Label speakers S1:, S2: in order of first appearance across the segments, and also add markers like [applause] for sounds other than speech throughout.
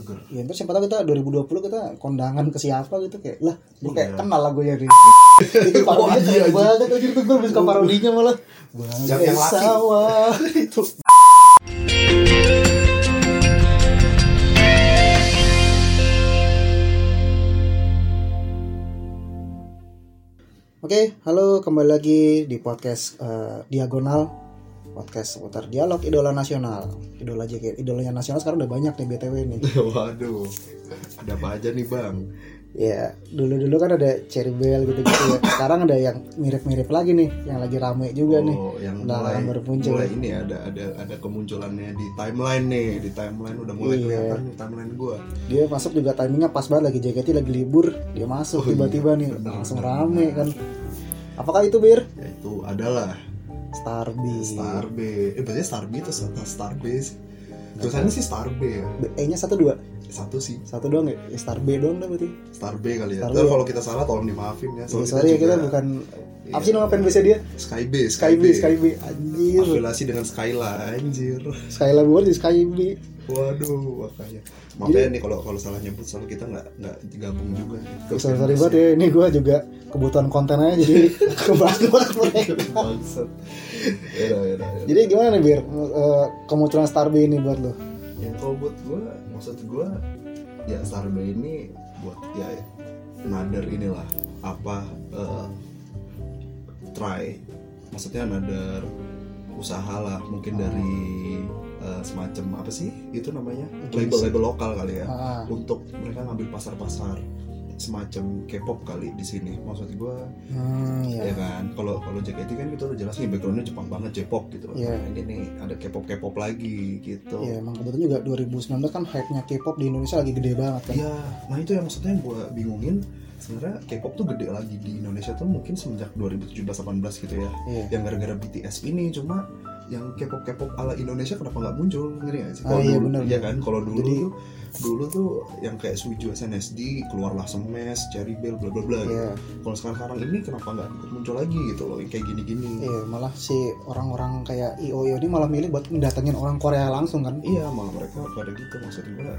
S1: betul
S2: ya terus siapa tahu kita 2020 kita kondangan ke siapa gitu kayak lah gue kayak
S1: Iya.
S2: kenal lah gue ya
S1: [laughs]
S2: Rin. itu parodinya
S1: iya,
S2: keren
S1: anjing.
S2: banget anjir tuh gue suka parodinya malah
S1: Yang- yang laki. [laughs]
S2: sawah itu Oke, halo kembali lagi di podcast eh, Diagonal Podcast seputar dialog idola nasional Idola JKT, idolanya nasional sekarang udah banyak nih BTW nih
S1: waduh ada apa aja nih bang
S2: Ya, dulu-dulu kan ada Cherry Bell gitu-gitu ya. Sekarang ada yang mirip-mirip lagi nih, yang lagi rame juga nih.
S1: oh yang
S2: Nah,
S1: mulai
S2: baru muncul.
S1: mulai ini ya, ada ada ada kemunculannya di timeline nih di timeline udah mulai
S2: Iya.
S1: kelihatan nih timeline gua
S2: Dia masuk juga timingnya pas banget lagi JKT lagi libur, dia masuk
S1: Oh,
S2: tiba-tiba
S1: iya,
S2: nih
S1: benar,
S2: langsung
S1: benar,
S2: rame
S1: benar.
S2: kan. Apakah itu Bir?
S1: yaitu adalah
S2: Starby.
S1: Star B eh biasanya Star B terus atau Star B sih tulisannya sih Star B ya
S2: E-nya satu dua,
S1: satu sih
S2: satu doang ya? Ya, Star B doang dah berarti.
S1: Star B kali ya
S2: Star B.
S1: Ntar kalau kita salah tolong dimaafin
S2: Ya,
S1: ya soalnya
S2: sorry ya kita
S1: juga-
S2: bukan
S1: Iya.
S2: apa sih nama fanbase dia?
S1: Sky B
S2: Sky B, Sky B. Anjir.
S1: afiliasi dengan Skyla anjir
S2: Skyla bukan di Sky B.
S1: waduh makanya
S2: Iya.
S1: makanya nih kalau kalau salah nyebut selalu kita nggak nggak gabung juga Ke
S2: Hmm. Sorry, sorry
S1: [laughs] fanbase
S2: banget ya, ini gue juga kebutuhan konten aja jadi [laughs] kebalik mereka.
S1: Bangsat. Era, era, era.
S2: Jadi gimana nih Bir, Eh, kemunculan Starby ini buat lo?
S1: Ya kalau buat gue, maksud gue ya Starbay ini buat ya nader inilah apa eh, try maksudnya nader usaha lah mungkin dari eh, semacam apa sih itu namanya
S2: Agensi.
S1: label-label lokal kali ya
S2: Ah,
S1: untuk mereka ngambil pasar-pasar semacam K-pop kali di sini maksud gue
S2: hmm, ya.
S1: ya kan kalau kalau JKT kan kita udah jelas nih backgroundnya Jepang banget J-pop gitu
S2: Iya.
S1: Nah, ini nih ada K-pop K-pop lagi gitu
S2: Ya, emang kebetulan juga 2019 kan hype-nya K-pop di Indonesia lagi gede banget kan.
S1: Iya, nah itu yang maksudnya gue bingungin sebenarnya K-pop tuh gede lagi di Indonesia tuh mungkin semenjak 2017-18 gitu ya
S2: Iya.
S1: yang gara-gara BTS ini cuma yang K-pop K-pop ala Indonesia kenapa nggak muncul ngeri nggak sih?
S2: Ah,
S1: Kalau
S2: iya,
S1: dulu,
S2: bener.
S1: ya kan kalau dulu
S2: Jadi-
S1: tuh dulu tuh yang kayak Suju SNSD keluarlah Semes, Cherry Bell, bla bla bla. gitu.
S2: Iya,
S1: Kalau sekarang sekarang ini kenapa nggak ikut muncul lagi gitu loh yang kayak gini-gini?
S2: iya, malah si orang-orang kayak IOIO ini malah milih buat mendatengin orang Korea langsung kan.
S1: Iya malah mereka pada gitu maksud gue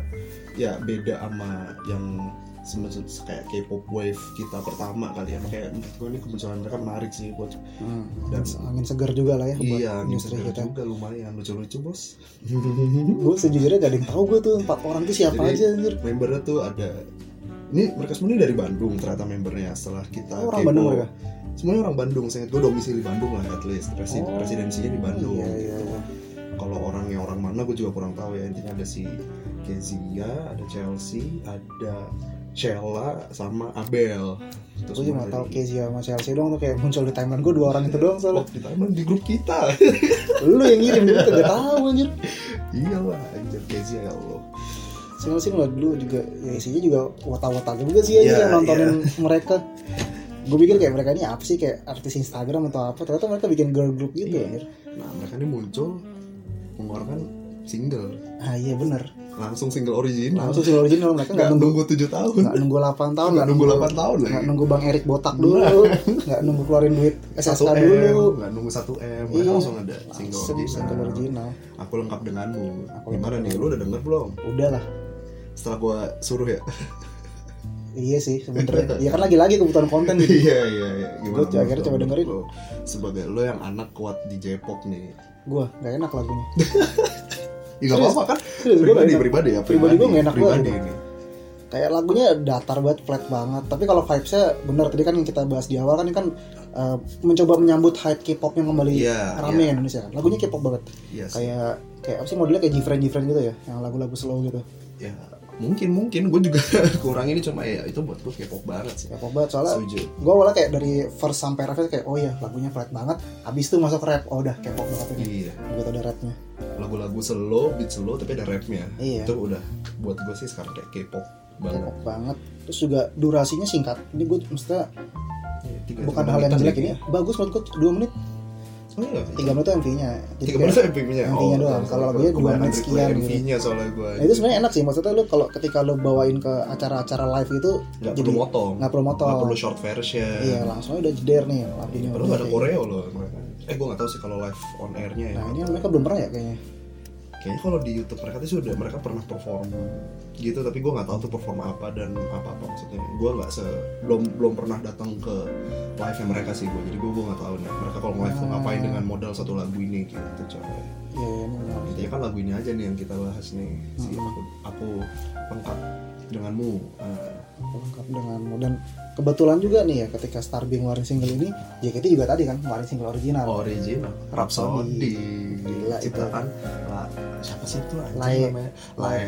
S1: ya beda sama yang sebenarnya kayak K-pop wave kita pertama kali ya makanya menurut gue ini kemunculan mereka menarik sih buat
S2: Hmm.
S1: Dan-
S2: Angin segar juga lah ya buat
S1: iya
S2: industri ya.
S1: gitu
S2: kita.
S1: juga lumayan lucu-lucu bos [laughs]
S2: Gue sejujurnya gak ada yang tahu gue tuh empat orang tuh siapa
S1: Jadi-
S2: aja anjir.
S1: membernya tuh ada ini mereka semua ini dari Bandung ternyata membernya setelah kita
S2: Oh, orang
S1: kepo.
S2: Bandung mereka?
S1: semuanya orang Bandung saya gue domisili Bandung lah at least Resi-
S2: Oh.
S1: residensinya di Bandung
S2: Iya, iya, iya.
S1: kalau orangnya orang mana gue juga kurang tahu ya intinya ada si Kezia ada Chelsea ada Sheila sama Abel terus
S2: Gue cuma
S1: dari-
S2: tau Kezia sama Chelsea doang tuh kayak muncul di timeline gue dua orang itu doang soalnya.
S1: Oh, di Taiwan, di grup kita [laughs]
S2: Lu yang ngirim gue tuh gak tau anjir.
S1: iyalah anjir Kezia ya Allah
S2: Single sih ngeliat dulu juga ya isinya juga wata-wata juga sih aja
S1: Iya,
S2: yang nontonin [laughs] mereka gue pikir kayak mereka ini apa sih kayak artis Instagram atau apa ternyata mereka bikin girl group gitu
S1: Iya.
S2: anjir.
S1: nah mereka ini muncul mengeluarkan single
S2: ah iya bener
S1: langsung single original
S2: langsung single original mereka nggak
S1: nggak
S2: nunggu
S1: nunggu tujuh tahun
S2: nggak nunggu 8 tahun
S1: nggak nunggu 8 tahun
S2: nggak
S1: lagi
S2: nunggu Bang Erik botak dulu nggak nunggu keluarin duit
S1: satu
S2: SSK
S1: M
S2: dulu
S1: nggak nunggu satu M
S2: Iya.
S1: mereka langsung ada single
S2: langsung single
S1: original
S2: original
S1: aku lengkap denganmu
S2: Aku
S1: gimana
S2: lengkap
S1: nih lu udah denger belum
S2: udah lah
S1: setelah gua suruh ya
S2: iya sih
S1: [laughs]
S2: sebenernya ya kan lagi-lagi kebutuhan konten gitu
S1: iya iya iya
S2: Gua
S1: gimana
S2: tuh akhirnya
S1: menurut
S2: coba
S1: lo?
S2: dengerin.
S1: Lo sebagai lo yang anak kuat di J-pop nih
S2: gue nggak enak lagunya
S1: Ih, gak
S2: Serius?
S1: apa-apa kan
S2: Serius, gua
S1: pribadi
S2: nggak enak.
S1: pribadi ya
S2: Pribadi gua nggak enak
S1: pribadi
S2: banget.
S1: ini
S2: kayak lagunya datar banget flat banget tapi kalau vibesnya benar tadi kan yang kita bahas di awal kan ini kan eh, mencoba menyambut hype K-pop yang kembali
S1: Iya,
S2: rame
S1: iya.
S2: ya Indonesia kan lagunya K-pop banget
S1: Iya sih.
S2: kayak kayak apa sih modelnya kayak Jifren Jifren gitu ya yang lagu-lagu slow gitu
S1: ya mungkin mungkin gue juga [laughs] kurang ini cuma ya itu buat gue K-pop banget sih
S2: K-pop banget soalnya
S1: setuju
S2: gue awalnya kayak dari first sampai refnya kayak oh iya lagunya flat banget abis itu masuk rap oh udah K-pop banget ini
S1: iya
S2: begitu ada rapnya
S1: lagu-lagu slow beat slow tapi ada rapnya
S2: Iya.
S1: itu udah buat gue sih sekarang kayak K-pop banget
S2: K-pop banget terus juga durasinya singkat ini gue maksudnya
S1: Iya, tiga-
S2: bukan
S1: tiga
S2: hal yang
S1: menitan
S2: jelek
S1: lagi.
S2: ini bagus menurut gue dua menit
S1: oh iya
S2: tiga menit tuh MV-nya Jadi
S1: tiga
S2: kayak-
S1: menit MV-nya
S2: MV-nya doang.
S1: iya.
S2: Kalau lagunya dua menit sekian gitu.
S1: MV-nya soalnya gue
S2: Nah, itu sebenarnya enak sih maksudnya lu kalau ketika lu bawain ke acara-acara live itu
S1: nggak perlu motong
S2: nggak perlu motong.
S1: nggak perlu Iya, short version
S2: Iya, langsung aja udah gitu. jeder nih lagunya.
S1: Padahal nggak ada koreo loh mereka. Eh gue nggak tahu sih kalau live on airnya ya.
S2: Nah, ini mereka belum pernah ya kayaknya.
S1: kayaknya kalau di YouTube mereka tuh sudah mereka pernah perform gitu tapi gue nggak tahu tuh perform apa dan apa apa maksudnya gue nggak se belum belum pernah datang ke live nya mereka sih gue jadi gue gue nggak tahu nih mereka kalau live tuh ngapain
S2: Ah.
S1: dengan modal satu lagu ini gitu coy
S2: Iya, iya, benar.
S1: intinya kan lagu ini aja nih yang kita bahas nih si
S2: Hmm.
S1: aku aku lengkap denganmu Ah,
S2: lengkap denganmu dan kebetulan juga nih ya ketika Starbing ngeluarin single ini JKT juga tadi kan ngeluarin single original
S1: Oh. original
S2: Rhapsody.
S1: Rhapsody
S2: Gila, itu.
S1: ciptaan La- siapa sih itu anjing
S2: Lae.
S1: namanya Lae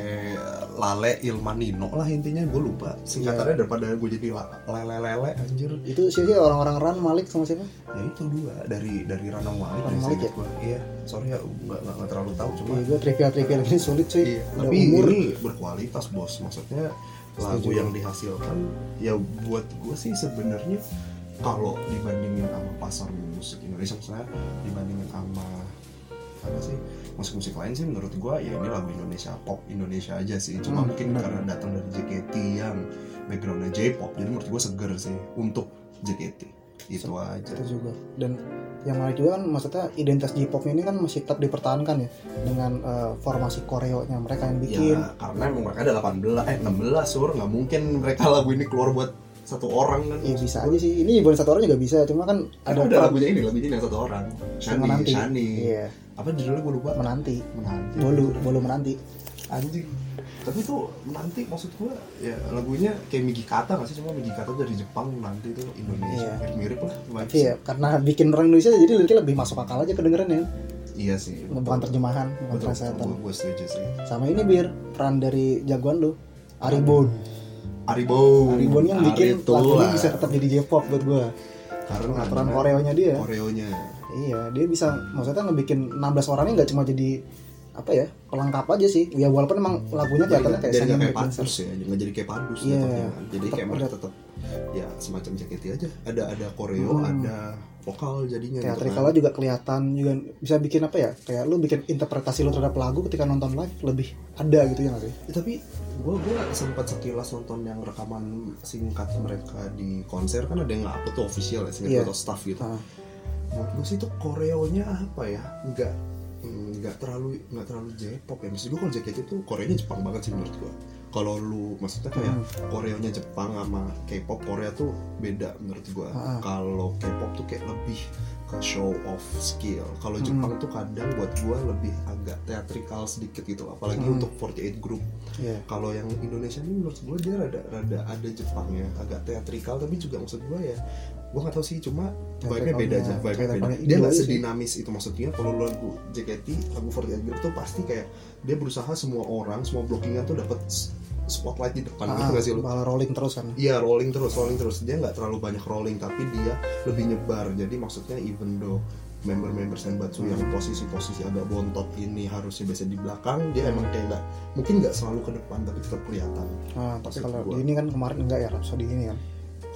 S1: Lale Ilmanino lah intinya gue lupa singkatannya daripada gue jadi la- lele lele anjir
S2: itu sih sih orang-orang Ran Malik sama siapa
S1: ya itu dua dari dari Ranong Wali
S2: Ranong Wali ya?
S1: iya sorry ya nggak nggak nggak terlalu tahu cuma
S2: Iya, gue trivia trivia ini sulit cuy
S1: Iya,
S2: udah
S1: tapi
S2: umur
S1: ini berkualitas bos maksudnya lagu
S2: Setuju.
S1: yang dihasilkan ya buat gue sih sebenarnya kalau dibandingin sama pasar musik Indonesia misalnya dibandingin sama apa sih musik-musik lain sih menurut gue ya ini lagu Indonesia pop Indonesia aja sih cuma
S2: Hmm,
S1: mungkin
S2: benar.
S1: karena datang dari JKT yang backgroundnya J-pop jadi menurut gue seger sih untuk JKT itu Gitu aja
S2: itu juga dan yang menarik juga kan maksudnya identitas J-pop ini kan masih tetap dipertahankan ya dengan eh, formasi koreonya mereka yang bikin
S1: ya karena emang mereka ada 18 eh 16 sur nggak mungkin mereka lagu ini keluar buat satu orang kan
S2: ya bisa aja sih ini bukan satu orang juga bisa cuma kan
S1: ada,
S2: ada
S1: ada
S2: peran-
S1: lagunya ini lagunya yang satu orang Shani
S2: menanti
S1: Shani
S2: iya
S1: apa judulnya gue lupa
S2: menanti
S1: menanti
S2: bolu bolu menanti
S1: anjing tapi tuh menanti maksud gue ya lagunya kayak Migi Kata nggak sih cuma Migi Kata dari Jepang menanti itu Indonesia
S2: Iya.
S1: mirip lah vibes.
S2: tapi ya karena bikin orang Indonesia jadi liriknya lebih masuk akal aja kedengeran ya
S1: iya sih
S2: bukan terjemahan bukan
S1: betul, betul,
S2: translator
S1: gue, gue setuju sih
S2: sama ini bir peran dari jagoan lu Aribon
S1: Aribon
S2: Aribon yang bikin
S1: Aritulah.
S2: lagunya bisa tetap jadi J-pop buat gua
S1: karena
S2: peran koreonya dia ya.
S1: koreonya
S2: Iya, dia bisa maksudnya ngebikin 16 orangnya nggak cuma jadi apa ya pelengkap aja sih. Ya walaupun emang lagunya
S1: jadi
S2: kelihatannya kayak
S1: Hmm. jadi nggak
S2: semi
S1: kayak padus ya nggak jadi kayak padus
S2: gitu, Iya.
S1: jatuhnya kan. jadi
S2: Tetap
S1: kayak mereka
S2: ada-
S1: tetap ya semacam JKT aja ada ada koreo
S2: Hmm.
S1: ada vokal jadinya gitu kan.
S2: teatrikalnya juga kelihatan juga bisa bikin apa ya kayak lu bikin interpretasi lu terhadap lagu ketika nonton live lebih ada gitu ya nggak sih?
S1: Ya, tapi gue gua sempat sekilas nonton yang rekaman singkat mereka di konser kan ada yang nggak upload tuh official ya singkat
S2: Iya.
S1: atau staff gitu
S2: Nah,
S1: menurut gue sih itu koreonya apa ya nggak mm, nggak terlalu nggak terlalu J-pop ya maksud gue kalau JKT itu koreanya Jepang banget sih menurut gue kalau lu maksudnya kayak
S2: Hmm.
S1: koreonya Jepang sama K-pop Korea tuh beda menurut gue
S2: Ah.
S1: kalau K-pop tuh kayak lebih ke show off skill kalau Jepang
S2: Hmm.
S1: tuh kadang buat gue lebih agak teatrikal sedikit gitu apalagi
S2: Hmm.
S1: untuk 48 group
S2: iya.
S1: kalau yang Indonesia ini menurut gue dia rada rada ada Jepangnya agak teatrikal tapi juga maksud gue ya gue gak tahu sih cuma vibe-nya beda
S2: Teatrikalnya-
S1: aja vibe-nya beda
S2: teatrikalnya
S1: dia
S2: Indo
S1: gak
S2: aja sih.
S1: sedinamis itu maksudnya kalau lu lagu JKT lagu 48 Group tuh pasti kayak dia berusaha semua orang semua blockingan tuh dapat s- spotlight di depan gitu
S2: Ah,
S1: gak sih lu
S2: malah rolling terus kan.
S1: Iya rolling terus, rolling terus. Dia nggak terlalu banyak rolling, tapi dia lebih nyebar. Jadi maksudnya even though member-member Senbatsu
S2: Hmm.
S1: yang posisi-posisi agak bontot ini harusnya biasa di belakang, dia emang kayak nggak mungkin nggak selalu ke depan, tapi tetap kelihatan.
S2: Nah, tapi
S1: Maksud
S2: kalau
S1: gua.
S2: di ini kan kemarin enggak ya Rhapsody ini kan.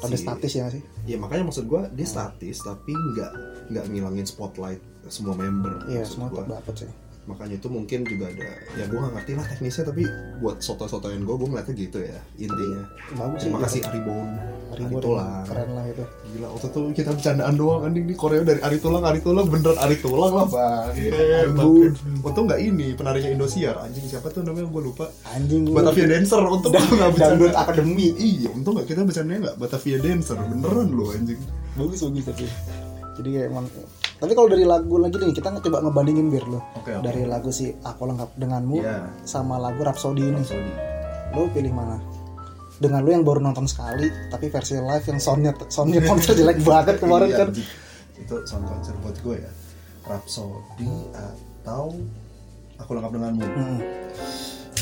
S2: Ada
S1: Si-
S2: statis ya nggak sih?
S1: Iya makanya maksud gua dia statis, tapi nggak nggak ngilangin spotlight semua member.
S2: Iya,
S1: maksud
S2: semua
S1: gua.
S2: tetap dapet sih.
S1: Makanya itu mungkin juga ada. Ya gua nggak ngerti lah teknisnya, tapi buat soto-sotoin gua, gua ngeliatnya gitu ya intinya.
S2: Bagus sih.
S1: Terima kasih Aribon.
S2: Ribut ya,
S1: Aritulang.
S2: Iya. keren lah itu.
S1: Gila, waktu itu kita bercandaan doang anjing di Korea dari Ari Tulang, Ari Tulang beneran Ari Tulang lah bang.
S2: Ampun.
S1: Untung nggak ini penarinya Indosiar anjing siapa tuh namanya gue lupa.
S2: Anjing gua. [laughs]
S1: Batavia Dancer untung gua nggak
S2: Dangdut
S1: bercanda.
S2: Academy.
S1: Iya, untung nggak kita bercandanya nggak Batavia Dancer beneran loh anjing.
S2: bagus bagus tapi jadi ya emang tapi kalau dari lagu lagi nih kita coba ngebandingin biar lo
S1: Oke, oke.
S2: dari lagu si aku lengkap denganmu
S1: Iya.
S2: sama lagu Rhapsody ini
S1: Sorry.
S2: lo pilih mana dengan lo yang baru nonton sekali tapi versi live yang soundnya soundnya [laughs] konser jelek banget kemarin
S1: Iya,
S2: kan
S1: anjing. Itu sound concert buat gue ya. Rhapsody atau aku lengkap denganmu.
S2: Hmm.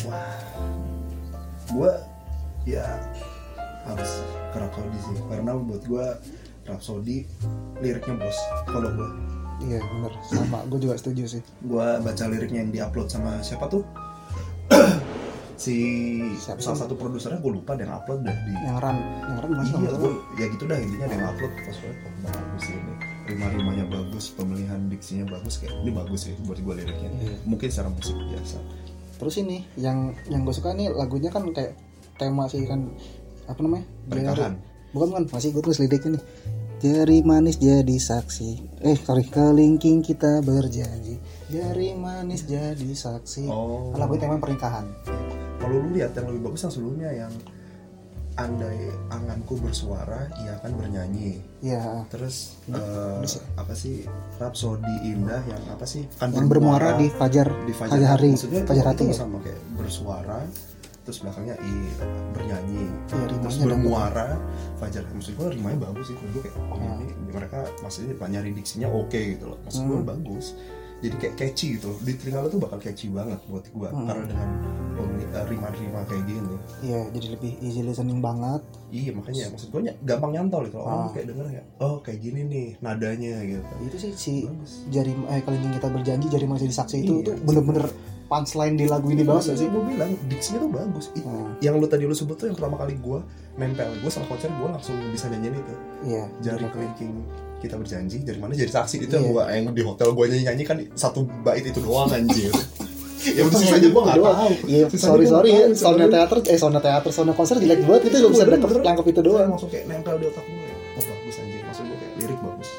S1: Wah, gue ya harus ke Rhapsody sih karena buat gue Rhapsody liriknya bos kalau gue
S2: iya bener sama gue juga setuju sih
S1: gue baca liriknya yang diupload sama siapa tuh [clears throat] si
S2: Siapa
S1: salah
S2: sih?
S1: satu produsernya gue lupa ada yang upload dah di
S2: yang ran yang ran masih
S1: iya
S2: sama
S1: gue ya gitu dah intinya ada yang upload pas gue kok bagus sih ini rima-rimanya bagus pemilihan diksinya bagus kayak ini bagus sih buat gue liriknya
S2: Iya.
S1: mungkin secara musik biasa
S2: terus ini yang yang gue suka nih lagunya kan kayak tema sih kan apa namanya Dari-
S1: pernikahan
S2: bukan bukan masih gue tulis liriknya nih Jari manis jadi saksi. Eh, sorry, kelingking kita berjanji. Jari manis jadi saksi.
S1: Oh.
S2: Lagu itu emang pernikahan.
S1: Kalau lu lihat yang lebih bagus yang sebelumnya yang andai anganku bersuara, ia akan bernyanyi.
S2: Ya,
S1: Terus eh, apa sih Rhapsody Indah yang apa sih? Kan
S2: yang bermuara di Fajar,
S1: di Fajar,
S2: Fajar Hari,
S1: Maksudnya
S2: Fajar
S1: itu-
S2: Hati.
S1: itu
S2: ya?
S1: sama kayak bersuara terus belakangnya i bernyanyi
S2: Iya,
S1: terus
S2: rimanya dong.
S1: bermuara Fajar maksud gue rimanya bagus sih menurut gue kayak oh,
S2: Iya.
S1: ini mereka maksudnya nyari diksinya oke gitu loh maksud
S2: Hmm.
S1: gue bagus jadi kayak catchy gitu loh. di telinga lo tuh bakal catchy banget buat gue
S2: Hmm.
S1: karena dengan pemi- eh, rima-rima kayak gini
S2: Iya, jadi lebih easy listening banget.
S1: iya makanya maksud gue ny- gampang nyantol gitu loh. orang
S2: Ah.
S1: kayak denger ya oh kayak gini nih nadanya gitu
S2: Itu sih si
S1: Bagus.
S2: jari eh kelingking kita berjanji jari manis jadi saksi itu
S1: Iya.
S2: tuh bener-bener punchline di lagu ini banget
S1: Maksudnya
S2: sih.
S1: gue Iya, bilang diksinya tuh bagus Ih,
S2: Hmm.
S1: yang lu tadi lu sebut tuh yang pertama kali gue nempel gue sama konser gue langsung bisa nyanyiin itu
S2: Iya,
S1: jari
S2: bener.
S1: kelingking kita berjanji dari mana jadi saksi itu yang
S2: Iya.
S1: gua yang di hotel gua nyanyi nyanyi kan satu bait itu doang
S2: [laughs]
S1: anjir ya udah sisanya
S2: Pengen
S1: gua nggak
S2: doang.
S1: tahu
S2: Iya,
S1: Sisanya
S2: sorry
S1: gua
S2: sorry ya,
S1: nggak tahu,
S2: soundnya
S1: sebenarnya.
S2: teater, eh soundnya teater, soundnya konser jelek banget kita cuma bisa
S1: Bener,
S2: dapet
S1: bener.
S2: langkap itu
S1: Terus
S2: doang.
S1: langsung kayak nempel di otak gue oh bagus anjir maksud gue kayak lirik bagus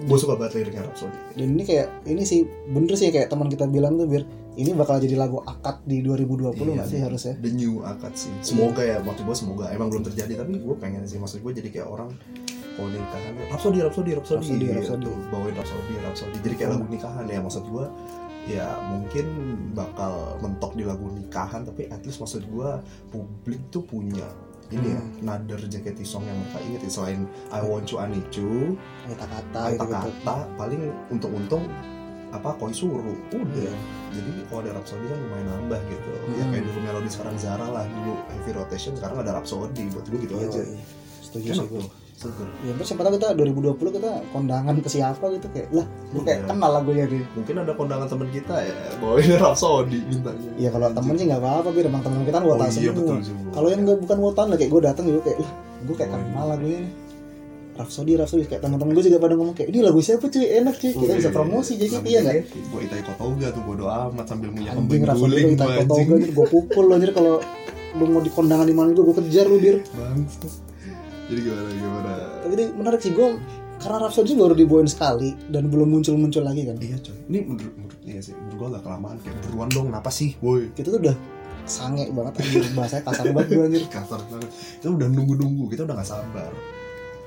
S1: gue suka banget liriknya Rhapsody
S2: Dan ini kayak ini sih bener sih kayak teman kita bilang tuh bir ini bakal jadi lagu akad di 2020 nggak
S1: Iya.
S2: sih harusnya?
S1: the new akad sih semoga ya waktu gue semoga emang belum terjadi tapi gue pengen sih maksud gue jadi kayak orang kalau nikahan ya, Rhapsody Rhapsody Rhapsody,
S2: Rhapsody,
S1: gitu.
S2: Rhapsody.
S1: bawain Rhapsody Rhapsody jadi kayak lagu nikahan ya maksud gue ya mungkin bakal mentok di lagu nikahan tapi at least maksud gue publik tuh punya
S2: Hmm.
S1: ini ya nader JKT song yang mereka inget ya. selain I Want You I Need You
S2: Kata-kata gitu, gitu.
S1: kata-kata paling untung-untung apa koi suruh udah
S2: Iya.
S1: jadi kalau ada Rhapsody kan lumayan nambah gitu ya
S2: Hmm.
S1: kayak dulu melodi sekarang Zara lah dulu heavy rotation sekarang ada Rhapsody buat gue gitu aja Iya, kan?
S2: Yoi. Setuju sih
S1: enak
S2: gue.
S1: tuh seger
S2: Ya terus siapa tahu kita 2020 kita kondangan ke siapa gitu kayak lah gue kayak
S1: Iya.
S2: kenal lagunya dia.
S1: mungkin ada kondangan temen kita ya bawain [laughs] Rhapsody bintangnya
S2: Iya kalau temen sih nggak apa-apa bir emang temen kita kan
S1: Oh
S2: wotan
S1: iya, betul
S2: semua.
S1: juga.
S2: Kalau yang nggak bukan wotan lah kayak gue datang juga kayak lah gue kayak
S1: Oh, iya.
S2: kenal lagunya. nih. Rhapsody, Rhapsody kayak teman-teman gue juga pada ngomong kayak ini lagu siapa cuy enak
S1: Oh,
S2: cuy kita bisa promosi jadi iya nggak?
S1: gue itai kotoga tuh bodo amat sambil punya
S2: Anjing
S1: kembing
S2: Rhapsody
S1: guling
S2: kita
S1: gua,
S2: foto
S1: anjing.
S2: gue gue pukul lo anjir kalau lu mau di kondangan di mana gue gue kejar lu bir.
S1: Bangsat. jadi gimana gimana
S2: Tapi ini menarik sih gue karena Rhapsody baru dibawain sekali dan belum muncul-muncul lagi kan.
S1: iya coy ini menurut menurut iya sih menurut gue agak kelamaan kayak buruan dong kenapa sih woi
S2: Kita tuh udah sange banget anjir bahasanya kasar banget gue anjir.
S1: kasar banget kita udah nunggu nunggu kita udah nggak sabar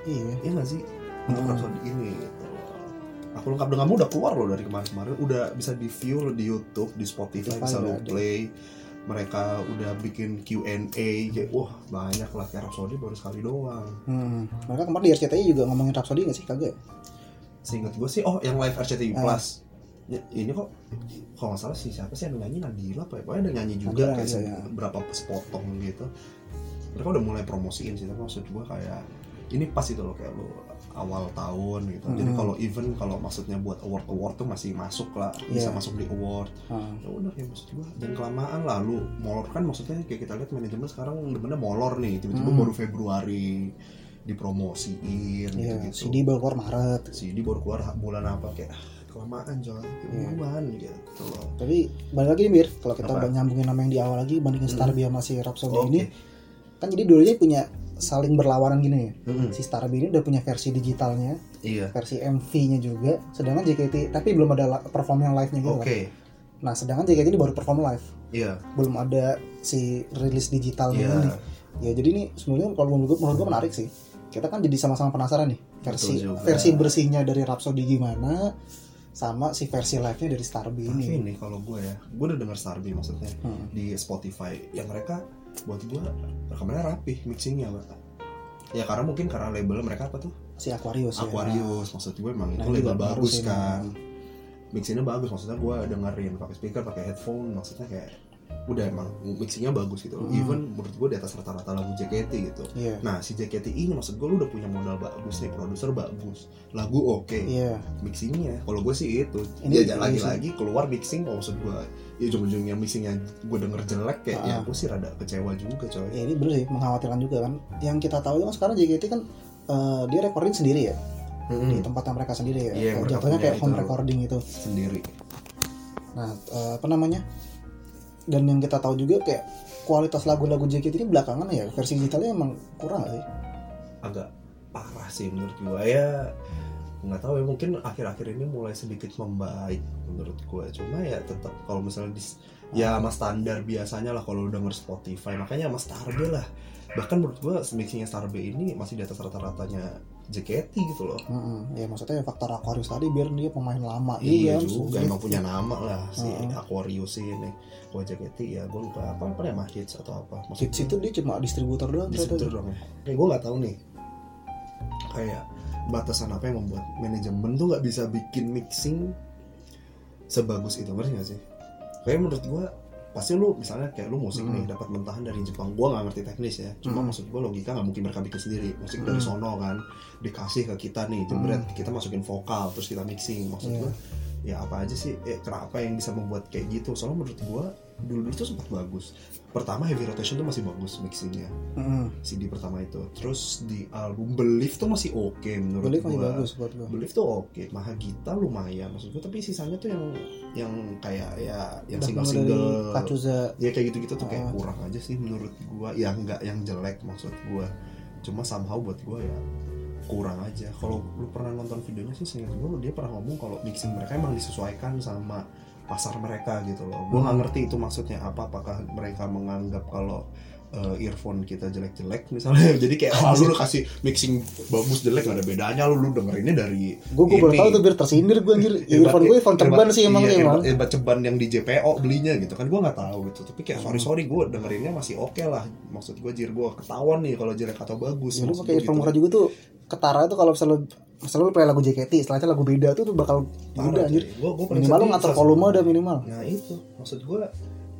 S2: Iya.
S1: Iya nggak sih untuk
S2: Hmm.
S1: Rhapsody ini gitu aku lengkap denganmu udah keluar loh dari kemarin-kemarin udah bisa di view di YouTube di Spotify
S2: Spotify
S1: bisa
S2: udah
S1: lo
S2: ada.
S1: play mereka udah bikin Q&A kayak wah banyak lah kayak Rhapsody baru sekali doang
S2: Hmm. Mereka kemarin di RCTI juga ngomongin Rhapsody gak sih? Kagak ya?
S1: seingat gue sih oh yang live RCTI
S2: Ah.
S1: Plus Ya, ini kok kalau nggak salah sih siapa sih yang nyanyi Nadila apa ya pokoknya ada nyanyi juga
S2: Nadila,
S1: kayak
S2: iya,
S1: se-
S2: iya.
S1: berapa sepotong gitu mereka udah mulai promosiin sih tapi maksud gue kayak ini pas itu loh kayak lo awal tahun gitu jadi
S2: Mhm.
S1: kalau event kalau maksudnya buat award award tuh masih masuk lah
S2: Iya.
S1: bisa masuk di award
S2: Hmm.
S1: ya udah ya maksud gue dan kelamaan lah lu molor kan maksudnya kayak kita lihat manajemen sekarang demennya molor nih tiba-tiba
S2: Hmm.
S1: baru Februari dipromosiin
S2: Iya,
S1: gitu gitu
S2: CD baru keluar Maret.
S1: CD baru keluar bulan apa kayak ah, kelamaan jangan
S2: Iya.
S1: bulan gitu loh
S2: Tapi balik lagi nih, Mir, kalau kita
S1: Apa?
S2: udah nyambungin nama yang di awal lagi bandingin
S1: Hmm.
S2: Starbia masih Rhapsody
S1: Oke.
S2: ini, kan jadi dulunya punya saling berlawanan gini ya.
S1: Mm-mm.
S2: Si Starbia ini udah punya versi digitalnya,
S1: iya
S2: versi MV-nya juga, sedangkan JKT tapi belum ada la- perform yang live-nya gitu.
S1: oke
S2: kan. Nah, sedangkan JKT ini baru perform live,
S1: iya
S2: belum ada si rilis digitalnya
S1: iya
S2: ini. Ya jadi ini sebenarnya kalau menurut gue, menurut gue menarik sih. Kita kan jadi sama-sama penasaran nih versi
S1: Betul juga.
S2: versi bersihnya dari Rhapsody gimana sama si versi live-nya dari Starbia ini.
S1: tapi nih kalau gue ya gue udah denger Starby maksudnya
S2: Hmm.
S1: di Spotify ya mereka buat gue rekamannya rapih mixingnya Pak. ya karena mungkin karena label mereka apa tuh
S2: Si Aquarius. ya.
S1: Aquarius maksud gue emang
S2: Nah,
S1: itu
S2: ini
S1: label
S2: baru
S1: bagus
S2: sih,
S1: kan
S2: nah.
S1: mixingnya bagus maksudnya gue dengerin pakai speaker pakai headphone maksudnya kayak udah emang mixingnya bagus gitu loh.
S2: Hmm.
S1: even menurut gue di atas rata-rata lagu JKT gitu
S2: Iya.
S1: Nah si JKT ini maksud gue lu udah punya modal bagus nih produser bagus lagu oke
S2: Iya.
S1: mixingnya kalau gue sih itu
S2: Ini
S1: ya jangan
S2: mixing.
S1: lagi-lagi keluar mixing kalau maksud gue ya ujung-ujungnya mixingnya gue denger jelek kayak ya
S2: Ah.
S1: gue sih rada kecewa juga coy
S2: Ya, ini bener sih mengkhawatirkan juga kan. Yang kita tahu kan sekarang JKT kan eh, dia recording sendiri ya di
S1: Mm-mm.
S2: tempatnya mereka sendiri ya.
S1: Hmm. Iya, yang mereka
S2: Jatuhnya
S1: punya
S2: kayak home
S1: itu.
S2: recording itu.
S1: sendiri
S2: Nah, eh, apa namanya? Dan yang kita tahu juga kayak kualitas lagu-lagu JKT ini belakangan ya versi digitalnya emang kurang gak sih?
S1: agak parah sih menurut gue ya nggak tahu ya mungkin akhir-akhir ini mulai sedikit membaik menurut gue cuma ya tetap kalau misalnya di, ya sama standar biasanya lah kalau lu denger Spotify makanya sama Starbe lah bahkan menurut gue mixingnya Starbe ini masih di atas rata-ratanya JKT gitu loh
S2: Mm-mm. ya maksudnya faktor Aquarius tadi biar dia pemain lama
S1: Iya
S2: kan,
S1: juga
S2: sulit.
S1: emang punya nama lah si
S2: Heeh.
S1: Aquarius ini. Gua JKT ya gue lupa apa apa ya mah hits atau apa. Maksud
S2: Hits itu dia cuma distributor doang
S1: distributor
S2: ternyata.
S1: dong ya. Kayak gue nggak tahu nih. Kayak batasan apa yang membuat manajemen tuh nggak bisa bikin mixing sebagus itu ngerti gak sih? Kayak menurut gue pasti lu misalnya kayak lu musik
S2: Hmm.
S1: nih dapat mentahan dari Jepang gua nggak ngerti teknis ya cuma
S2: Hmm.
S1: maksud gua logika nggak mungkin mereka bikin sendiri musik dari
S2: Hmm.
S1: sono kan dikasih ke kita nih jebret kita masukin vokal terus kita mixing maksud
S2: Iya.
S1: gua ya apa aja sih eh, kenapa yang bisa membuat kayak gitu soalnya menurut gua dulu itu sempat bagus pertama heavy rotation tuh masih bagus mixingnya
S2: Mm-mm.
S1: CD pertama itu. Terus di album Believe tuh masih oke menurut
S2: Beli masih
S1: gua.
S2: bagus buat gua.
S1: Believe tuh oke, Mahagita lumayan maksud gua, tapi sisanya tuh yang yang kayak ya yang
S2: Udah mulai dari
S1: single-single
S2: Kacuza
S1: ya kayak gitu-gitu tuh kayak
S2: Ah.
S1: kurang aja sih menurut gua. Ya enggak yang jelek maksud gua. Cuma somehow buat gua ya kurang aja. Kalau lu pernah nonton videonya sih seingat gua dia pernah ngomong kalau mixing mereka emang disesuaikan sama pasar mereka gitu loh. Gua
S2: Hmm.
S1: nggak ngerti itu maksudnya apa apakah mereka menganggap kalau eh, earphone kita jelek-jelek misalnya [laughs] jadi kayak ah, lu kasih mixing bagus jelek gak ada bedanya lu lu dengerinnya dari
S2: Gue gue baru
S1: ini.
S2: tahu tuh biar tersindir gue anjir. Earphone gue earphone ceban sih emang ya,
S1: ya. iya,
S2: sih emang.
S1: earbud- earbud ceban yang di JPO belinya gitu kan gue nggak tahu gitu tapi kayak sorry
S2: Hmm.
S1: sorry gue dengerinnya masih oke lah maksud gue jir gue ketahuan nih kalau jelek atau bagus
S2: Jadi
S1: Maksud
S2: Ya, pakai
S1: gua
S2: earphone
S1: gitu.
S2: murah juga tuh ketara tuh kalau misalnya misalnya lu play lagu JKT, setelahnya lagu beda tuh tuh bakal
S1: Parah,
S2: beda anjir.
S1: Jir. Gua, gua paling
S2: Minimal lu
S1: sedih
S2: ngatur
S1: salah
S2: volume
S1: satu.
S2: udah minimal.
S1: nah itu maksud gue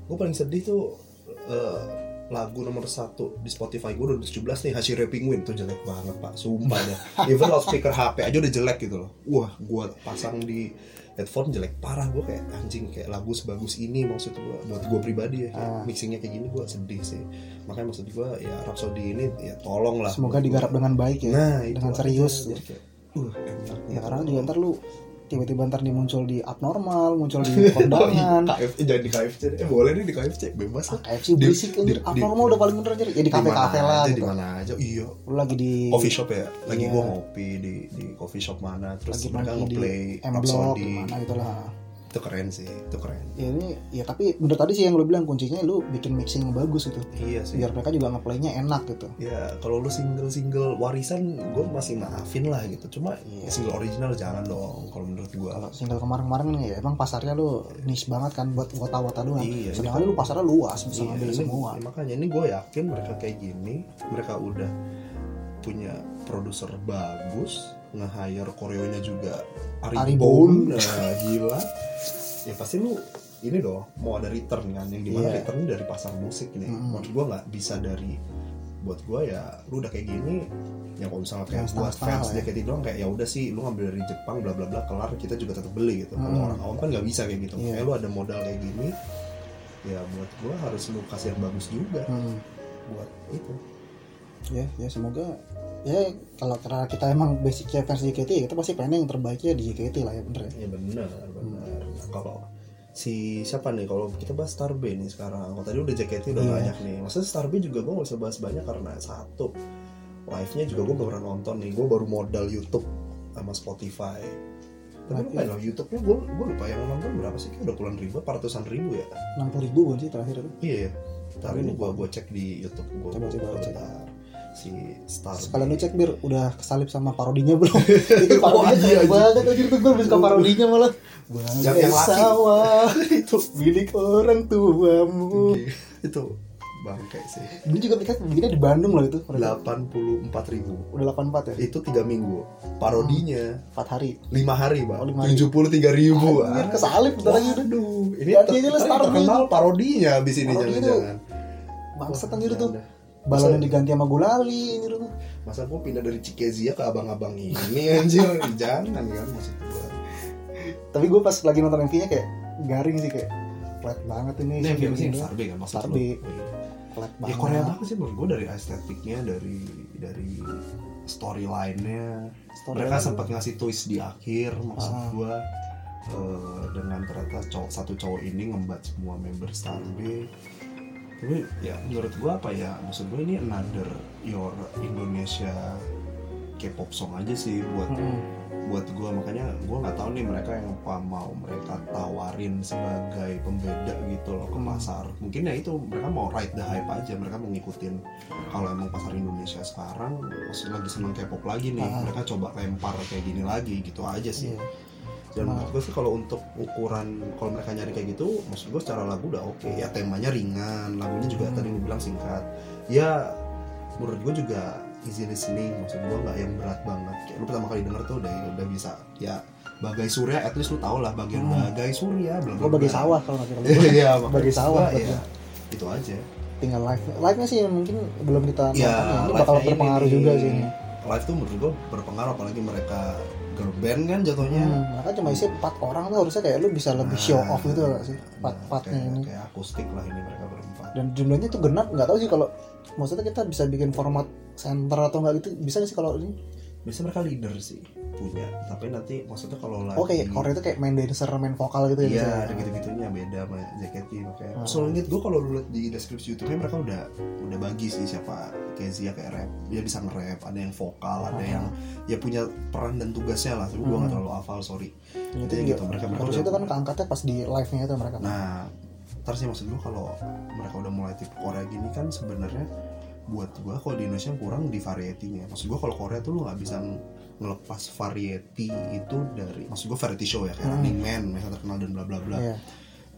S1: gue paling sedih tuh eh, lagu nomor satu di Spotify gue 2017 nih Hashiré Penguin tuh jelek banget pak sumpah
S2: [laughs]
S1: deh even loudspeaker HP aja udah jelek gitu loh wah gue pasang di headphone jelek parah gue kayak anjing kayak lagu sebagus ini maksud gue buat gue pribadi ya kayak
S2: Ah.
S1: mixingnya kayak gini gue sedih sih makanya maksud gue ya Rhapsody ini ya tolong lah
S2: Semoga digarap dengan baik ya.
S1: nah itu
S2: dengan
S1: aja.
S2: serius.
S1: Jadi kayak, uh, enak
S2: Ya
S1: gitu.
S2: karena juga ntar lu tiba-tiba ntar nih muncul di abnormal, muncul di kondangan. Ah,
S1: KFC jangan [laughs] di KFC deh. eh boleh nih di KFC bebas lah
S2: KFC
S1: Di-
S2: berisik
S1: di-
S2: anjir.
S1: di-
S2: Abnormal kan, udah paling bener anjir. Ya di kafe-kafe
S1: Dimana
S2: lah
S1: aja,
S2: gitu.
S1: di mana aja iya
S2: Lu lagi di
S1: coffee shop ya lagi
S2: Iya.
S1: gua ngopi di di coffee shop mana terus
S2: lagi
S1: mereka
S2: main di
S1: ngeplay
S2: M Block
S1: Rhapsody
S2: gimana gitu lah.
S1: itu keren sih itu keren
S2: Ya ini ya tapi bener tadi sih yang lu bilang kuncinya lu bikin mixing yang bagus gitu.
S1: iya sih
S2: Biar mereka juga ngeplaynya enak gitu.
S1: ya kalau lu single single warisan gue masih maafin lah gitu cuma
S2: Iya.
S1: single original jangan dong kalau menurut gue
S2: kalau single kemarin-kemarin kan ya emang pasarnya lu niche banget kan buat wota-wota doang
S1: Iya,
S2: sedangkan lu pasarnya luas bisa
S1: Iya,
S2: ngambil
S1: ini-
S2: semua
S1: makanya ini gue yakin mereka kayak gini mereka udah punya produser bagus nge-hire koreonya juga Ari,
S2: Ari
S1: Bone. Nah, gila ya pasti lu ini dong mau ada return kan yang dimana
S2: Iya.
S1: returnnya dari pasar musik nih
S2: Mm-mm.
S1: menurut gue nggak bisa dari buat gue ya lu udah kayak gini ya kalau misalnya
S2: Yang
S1: kayak gue
S2: setengah-setengah
S1: fans
S2: lah ya.
S1: JKT doang kayak ya udah sih lu ngambil dari Jepang bla bla bla kelar kita juga tetap beli gitu kalau
S2: Mm.
S1: orang awam kan nggak bisa kayak gitu
S2: Iya.
S1: kayak lu ada modal kayak gini ya buat gua harus lu kasih yang bagus juga
S2: hmm.
S1: buat itu
S2: ya ya semoga ya kalau karena kita emang basicnya fans JKT ya kita pasti pengen yang terbaiknya di JKT lah ya bener ya
S1: ya benar benar Nah, kalau si siapa nih kalau kita bahas Starbe nih sekarang kalau tadi udah JKT udah
S2: Iya.
S1: banyak nih maksudnya Starbe juga gua nggak usah bahas banyak karena satu live nya juga gua baru nonton nih gua baru modal YouTube sama Spotify tapi
S2: Tapi-
S1: lupa loh YouTube-nya gua gua lupa yang nonton berapa sih kayak udah puluhan ribu apa ratusan ribu ya
S2: 60 ribu kan sih terakhir itu
S1: iya ya tapi ini gua gua cek di YouTube gua
S2: Coba- coba
S1: gua
S2: cek.
S1: bentar. si Starbe
S2: sekalian lu cek bir udah kesalip sama parodinya
S1: [laughs]
S2: belum itu parodinya
S1: Wah, iya,
S2: keren
S1: anjir.
S2: banget anjir tuh gue lebih suka parodinya malah
S1: Yang-
S2: Bangkai
S1: yang laki.
S2: sawah [laughs] itu milik orang tuamu
S1: itu bangke sih
S2: ini juga kita bikinnya di Bandung loh itu udah
S1: delapan puluh empat ribu
S2: 84 ya
S1: itu tiga minggu parodinya
S2: 4 hari
S1: lima hari bang
S2: Oh, lima hari. Ah, iya.
S1: tujuh puluh tiga ribu
S2: Anjir, kesalip bentar lagi udah.
S1: aduh ini
S2: Ganti
S1: ter-
S2: aja lah
S1: ter-
S2: Star
S1: terkenal parodinya abis ini
S2: Parodi
S1: jangan
S2: tuh.
S1: jangan
S2: Bangsat anjir tuh.
S1: Jangan dah.
S2: Balon
S1: Masa-
S2: yang diganti sama gulali anjir tuh.
S1: masa gua pindah dari Cikezia ke abang-abang ini
S2: [laughs]
S1: anjir jangan kan maksud gua
S2: Tapi gue pas lagi nonton MV-nya kayak garing sih kayak flat banget ini.
S1: ini
S2: sih,
S1: film sih
S2: gitu.
S1: Starbe kan maksud
S2: Starbe.
S1: lu? Oh, iya.
S2: Flat
S1: ya
S2: banget.
S1: Korea banget sih menurut gua dari estetiknya dari dari storyline-nya
S2: Story
S1: mereka
S2: banget.
S1: sempat ngasih twist di akhir maksud
S2: Ah.
S1: gua eh, dengan ternyata cowok satu cowok ini ngembat semua member Starbe tapi ya menurut gua apa ya maksud gua ini another your Indonesia K-pop song aja sih buat
S2: Mm-mm.
S1: buat gue makanya gue nggak tahu nih mereka yang apa mau mereka tawarin sebagai pembeda gitu loh ke
S2: Hmm.
S1: pasar mungkin ya itu mereka mau ride the hype aja mereka mau ngikutin kalau emang pasar Indonesia sekarang lagi seneng K-pop lagi nih
S2: Ah.
S1: mereka coba lempar kayak gini lagi gitu aja sih
S2: Iya.
S1: dan
S2: Ah.
S1: menurut gue sih kalau untuk ukuran kalau mereka nyari kayak gitu maksud gue secara lagu udah oke ya temanya ringan lagunya juga
S2: Hmm.
S1: tadi lu bilang singkat ya menurut gue juga easy listening maksud gue nggak yang berat banget kayak lu pertama kali denger tuh udah udah bisa ya bagai surya at least lu tau lah bagian
S2: Hmm.
S1: bagai surya belum
S2: Gue bagi sawah kalau nggak kira
S1: [laughs] iya
S2: Bagai
S1: maksud
S2: sawah,
S1: gua,
S2: betul.
S1: ya itu aja
S2: Tinggal live, live nya sih mungkin belum kita nonton
S1: ya
S2: ya. Ini
S1: live-nya
S2: bakal berpengaruh
S1: ini.
S2: juga sih ini.
S1: live tuh menurut gue berpengaruh apalagi mereka girl band kan jatuhnya
S2: Hmm, mereka cuma isi empat orang tuh harusnya kayak lu bisa lebih show off gitu loh sih empat
S1: Nah,
S2: empatnya
S1: kayak,
S2: ini
S1: kayak akustik lah ini mereka berempat
S2: dan jumlahnya tuh genap nggak tahu sih kalau maksudnya kita bisa bikin format center atau nggak gitu bisa nggak sih kalau ini
S1: Nah, biasanya mereka leader sih punya tapi nanti maksudnya kalau lagi
S2: oke Korea itu Oh, kayak main dancer main vokal gitu ya
S1: Iya,
S2: biasanya.
S1: ada gitu-gitunya beda sama JKT makanya.
S2: Hmm.
S1: Soalnya gue kalau lu lihat di deskripsi YouTube-nya mereka udah udah bagi sih siapa Kezia kayak rap, dia bisa nge-rap, ada yang vokal, ada
S2: Hmm.
S1: yang ya punya peran dan tugasnya lah. Tapi gue nggak
S2: Hmm.
S1: terlalu hafal, sorry.
S2: Gitu,
S1: Intinya
S2: gitu.
S1: gitu, mereka- mereka
S2: Terus
S1: udah-
S2: itu kan keangkatnya pas di live-nya itu mereka.
S1: Nah, terus sih maksud gue kalau mereka udah mulai tipe Korea gini kan sebenarnya buat gue kalau di Indonesia kurang di varietinya. Maksud gue kalau Korea tuh lu nggak bisa ng- ngelepas variety itu dari maksud gue variety show ya kayak
S2: Hmm.
S1: Running Man mereka terkenal dan bla bla bla.
S2: Iya.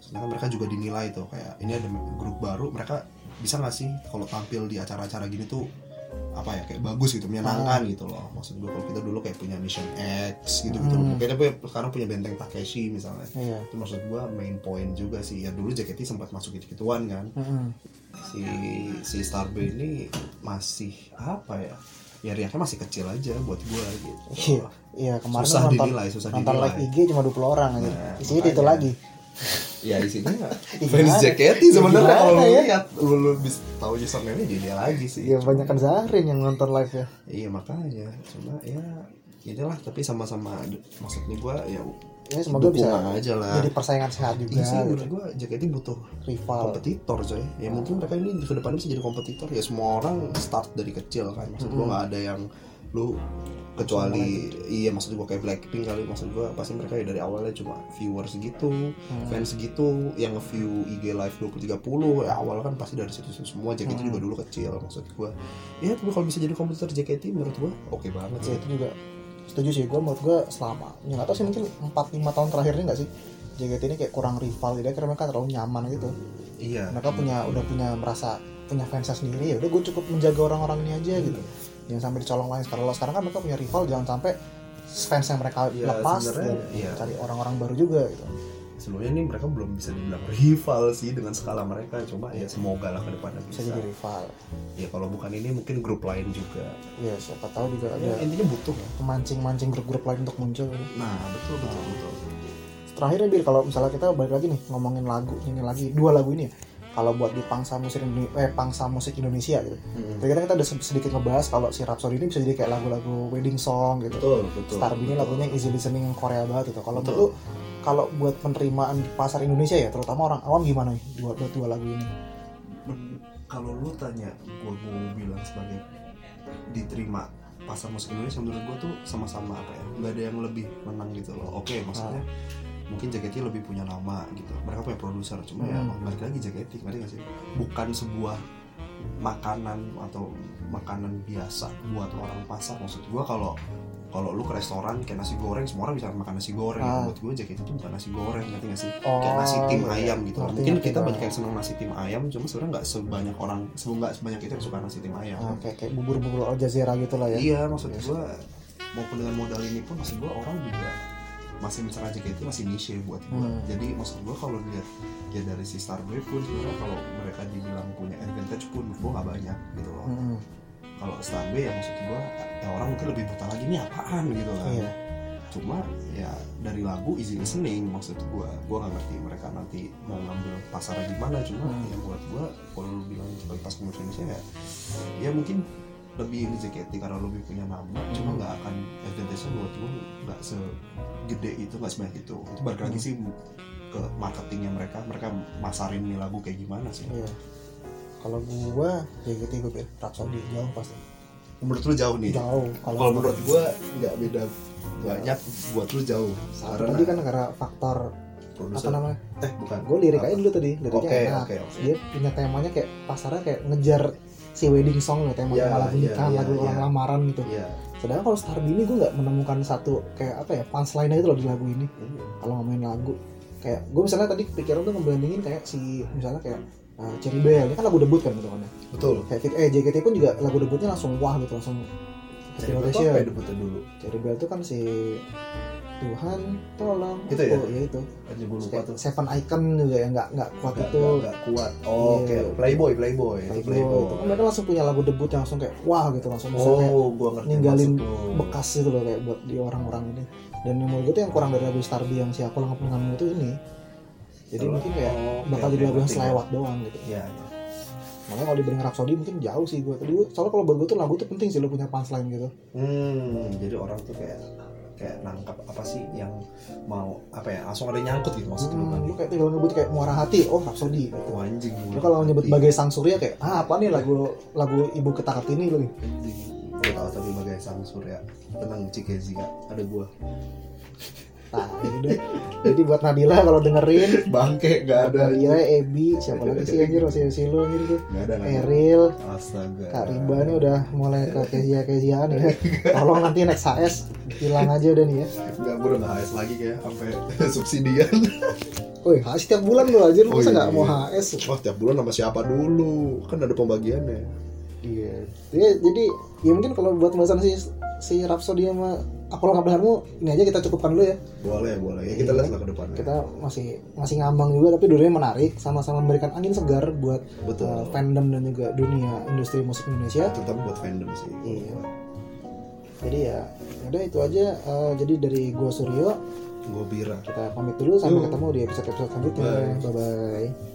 S1: Sedangkan mereka juga dinilai tuh kayak ini ada grup baru mereka bisa nggak sih kalau tampil di acara-acara gini tuh apa ya kayak bagus gitu menyenangkan
S2: Oh.
S1: gitu loh maksud gue kalau kita dulu kayak punya Mission X gitu gitu
S2: Hmm.
S1: mungkin tapi sekarang punya benteng Takeshi misalnya
S2: Iya.
S1: itu maksud gue main point juga sih ya dulu JKT sempat masuk gitu gituan kan
S2: Mm-mm.
S1: si si Starbay ini masih apa ya ya riaknya masih kecil aja buat gue gitu
S2: Iya. Iya, kemarin
S1: susah
S2: nonton
S1: dinilai susah
S2: nonton live
S1: dinilai
S2: IG cuma 20 orang aja.
S1: Nah,
S2: Isinya itu
S1: makanya.
S2: lagi.
S1: ya isinya
S2: Iya, [laughs] gimana?
S1: fans JKT
S2: Iya,
S1: sebenarnya
S2: gimana
S1: kalau lu
S2: ya?
S1: lihat lu, lu bisa tahu username-nya dia lagi sih
S2: Iya, banyak kan Zarin yang nonton live ya.
S1: iya makanya cuma ya inilah tapi sama-sama maksudnya gue ya
S2: Ini semoga bisa
S1: dukungan aja lah
S2: jadi persaingan sehat juga.
S1: Iya sih
S2: gitu.
S1: menurut gue JKT butuh
S2: Rival.
S1: kompetitor coy ya mungkin mereka ini ke depannya bisa jadi kompetitor ya semua orang start dari kecil kan maksud gua nggak ada yang lu kecuali iya maksud gua kayak Blackpink kali maksud gua pasti mereka ya dari awalnya cuma viewers gitu fans gitu yang nge-view IG live 20 30 ya awal kan pasti dari situ semua JKT
S2: Hmm.
S1: juga dulu kecil maksud gua ya tapi kalau bisa jadi kompetitor JKT menurut gua oke banget
S2: Ya
S1: sih
S2: itu juga setuju sih gue menurut gue selama ya nggak tahu sih mungkin 4-5 tahun terakhir ini nggak sih JKT ini kayak kurang rival gitu karena mereka terlalu nyaman gitu
S1: iya
S2: mereka punya udah punya merasa punya fansnya sendiri ya udah gue cukup menjaga orang-orang ini aja gitu
S1: Iya.
S2: jangan sampai dicolong lain sekarang sekarang kan mereka punya rival jangan sampai fans yang mereka
S1: Iya,
S2: lepas
S1: sebenarnya,
S2: dan
S1: iya.
S2: cari orang-orang baru juga gitu
S1: sebelumnya ini mereka belum bisa dibilang rival sih dengan skala mereka cuma ya semoga lah ke depannya
S2: bisa
S1: bisa,
S2: jadi rival
S1: ya kalau bukan ini mungkin grup lain juga
S2: ya siapa tahu juga
S1: ya,
S2: ada
S1: intinya butuh ya
S2: mancing-mancing grup-grup lain untuk muncul gitu.
S1: nah betul betul betul
S2: terakhir nih Bir kalau misalnya kita balik lagi nih ngomongin lagu ini lagi dua lagu ini ya kalau buat di pangsa musik Indone- eh, pangsa musik Indonesia gitu
S1: Hmm.
S2: Tadi kan kita udah se- sedikit ngebahas kalau si Rhapsody ini bisa jadi kayak lagu-lagu wedding song gitu
S1: betul betul
S2: Starby ini lagunya easy listening yang Korea banget itu kalau
S1: Betul.
S2: itu kalau buat penerimaan di pasar Indonesia ya terutama orang awam gimana nih buat buat dua lagu ini
S1: Men- kalau lu tanya gua mau bilang sebagai diterima pasar musik Indonesia menurut gua tuh sama-sama apa ya nggak ada yang lebih menang gitu
S2: Ah.
S1: loh oke maksudnya mungkin JKT lebih punya nama gitu mereka punya produser cuma ya
S2: Hmm.
S1: balik lagi JKT ngerti nggak sih bukan sebuah makanan atau makanan biasa buat orang pasar maksud gua kalau kalau lu ke restoran kayak nasi goreng semua orang bisa makan nasi goreng
S2: Ah.
S1: buat gua JKT itu bukan nasi goreng ngerti nggak sih
S2: oh
S1: kayak nasi tim
S2: iya.
S1: ayam gitu
S2: Ngerti,
S1: mungkin
S2: ngerti
S1: kita
S2: gua.
S1: banyak yang senang nasi tim ayam cuma sebenarnya nggak sebanyak orang sebelum nggak sebanyak itu yang suka nasi tim ayam
S2: Nah, kayak kayak bubur-bubur Al Jazeera gitu lah ya
S1: iya maksud
S2: Iya.
S1: gua maupun dengan modal ini pun maksud gua orang juga masih mencerna JKT masih niche buat gua
S2: Hmm.
S1: jadi maksud gua kalau lihat ya dari si Starboy pun sebenarnya kalau mereka dibilang punya advantage pun menurut gua nggak banyak gitu loh
S2: Mm-mm.
S1: kalau Starboy ya maksud gua ya orang mungkin lebih buta lagi ini apaan gitu kan
S2: Iya.
S1: cuma ya dari lagu easy listening maksud gua gua nggak ngerti mereka nanti mau ngambil pasarnya gimana cuma
S2: Hmm.
S1: ya buat gua kalau lu bilang sebagai pas komersial Indonesia ya ya mungkin lebih di JKT karena lu lebih punya nama cuma nggak akan advantage buat gua nggak segede itu nggak sebanyak itu itu balik lagi sih ke marketingnya mereka mereka masarin nih lagu Hmm. kayak gimana sih
S2: ya gitu, iya kalau gua JKT gue pilih Rhapsody jauh pasti
S1: menurut lu jauh nih
S2: jauh
S1: kalau menurut gua nggak beda banyak buat lu jauh saran
S2: tadi kan karena faktor apa
S1: produser
S2: namanya
S1: eh bukan
S2: gue lirik
S1: Apa?
S2: aja dulu tadi liriknya
S1: oke
S2: enak.
S1: oke oke
S2: dia punya temanya kayak pasarnya kayak ngejar si wedding song loh temanya
S1: Ya,
S2: malah lagu
S1: ya,
S2: nikahan
S1: ya,
S2: lagu orang
S1: ya.
S2: lamaran gitu
S1: iya
S2: sedangkan kalau Star ini gue nggak menemukan satu kayak apa ya punchline gitu loh di lagu ini
S1: Hmm.
S2: kalau ngomongin lagu kayak gue misalnya tadi kepikiran tuh ngebandingin kayak si misalnya kayak uh, Cherry Bell ini kan lagu debut kan gitu kan ya.
S1: betul
S2: kayak eh JKT pun juga lagu debutnya langsung wah gitu langsung
S1: jadi
S2: Festival
S1: gua tuh
S2: Asia.
S1: apa ya debutnya dulu
S2: Cherry Bell tuh kan si Tuhan tolong
S1: Itu ya?
S2: aku. itu
S1: aja gue
S2: Terus
S1: lupa
S2: kayak
S1: tuh
S2: Seven Icon juga ya nggak nggak kuat
S1: Nggak-
S2: itu
S1: nggak- nggak kuat Oh, oke
S2: Iya.
S1: playboy playboy itu
S2: Playboy.
S1: playboy
S2: Itu kan mereka langsung punya lagu debut yang langsung kayak wah gitu langsung Maksudnya kayak
S1: oh gua ngerti
S2: ninggalin
S1: maksud lu.
S2: bekas gitu loh kayak buat di orang-orang ini dan yang menurut gue tuh yang kurang dari lagu Starby yang siapa langkah pengamu itu ini jadi
S1: Salah.
S2: mungkin kayak
S1: Oh, oke,
S2: bakal
S1: oke,
S2: jadi lagu yang
S1: ngerti.
S2: selewat doang gitu
S1: Iya, iya.
S2: makanya kalau dibanding Rhapsody mungkin jauh sih gue tadi gue- soalnya kalau buat gue tuh lagu tuh penting sih lo punya punchline gitu
S1: Hmm, jadi orang tuh kayak kayak nangkap apa sih yang mau apa ya langsung ada yang nyangkut gitu maksud lu kan
S2: hmm, lo kayak tinggal nyebut kayak muara hati oh Rhapsody gitu
S1: Wah, anjing gua
S2: lo kalau nyebut
S1: ngerti.
S2: bagai sang surya kayak ah apa nih lagu lagu ibu kita kartini lo nih
S1: Anjing. Gua tahu tadi bagai sang surya tenang Cikezi Kak. ada gua
S2: nah ini deh jadi buat Nabila kalau dengerin
S1: bangke nggak ada
S2: Nabila Ebi siapa lagi sih anjir masih si lo gitu
S1: nggak ada nggak ada.
S2: Eril
S1: astaga
S2: Kak Rimba ini udah mulai ke kezia keziaan ya. Tolong nanti next HS hilang aja udah nih ya.
S1: nggak gua udah nggak HS lagi kayak sampai [laughs] subsidian
S2: Woi, HS tiap bulan lu aja lu
S1: Oh,
S2: masa
S1: iya,
S2: nggak mau
S1: iya.
S2: HS?
S1: wah tiap bulan sama siapa dulu kan ada pembagiannya
S2: Iya. Ya, jadi ya mungkin kalau buat pembahasan si si Rhapsody sama Apollo nggak Belarmu ini aja kita cukupkan dulu ya.
S1: boleh boleh ya kita lihat lah ke depannya
S2: Iya. Kita masih masih ngambang juga tapi dulunya menarik sama-sama memberikan angin segar buat
S1: betul
S2: uh, fandom dan juga dunia industri musik Indonesia.
S1: terutama buat fandom sih
S2: Iya. Jadi ya udah itu aja. Uh, jadi dari gua Suryo
S1: gua bira
S2: kita pamit dulu sampai
S1: Yuk.
S2: ketemu di episode-episode selanjutnya. Bye bye.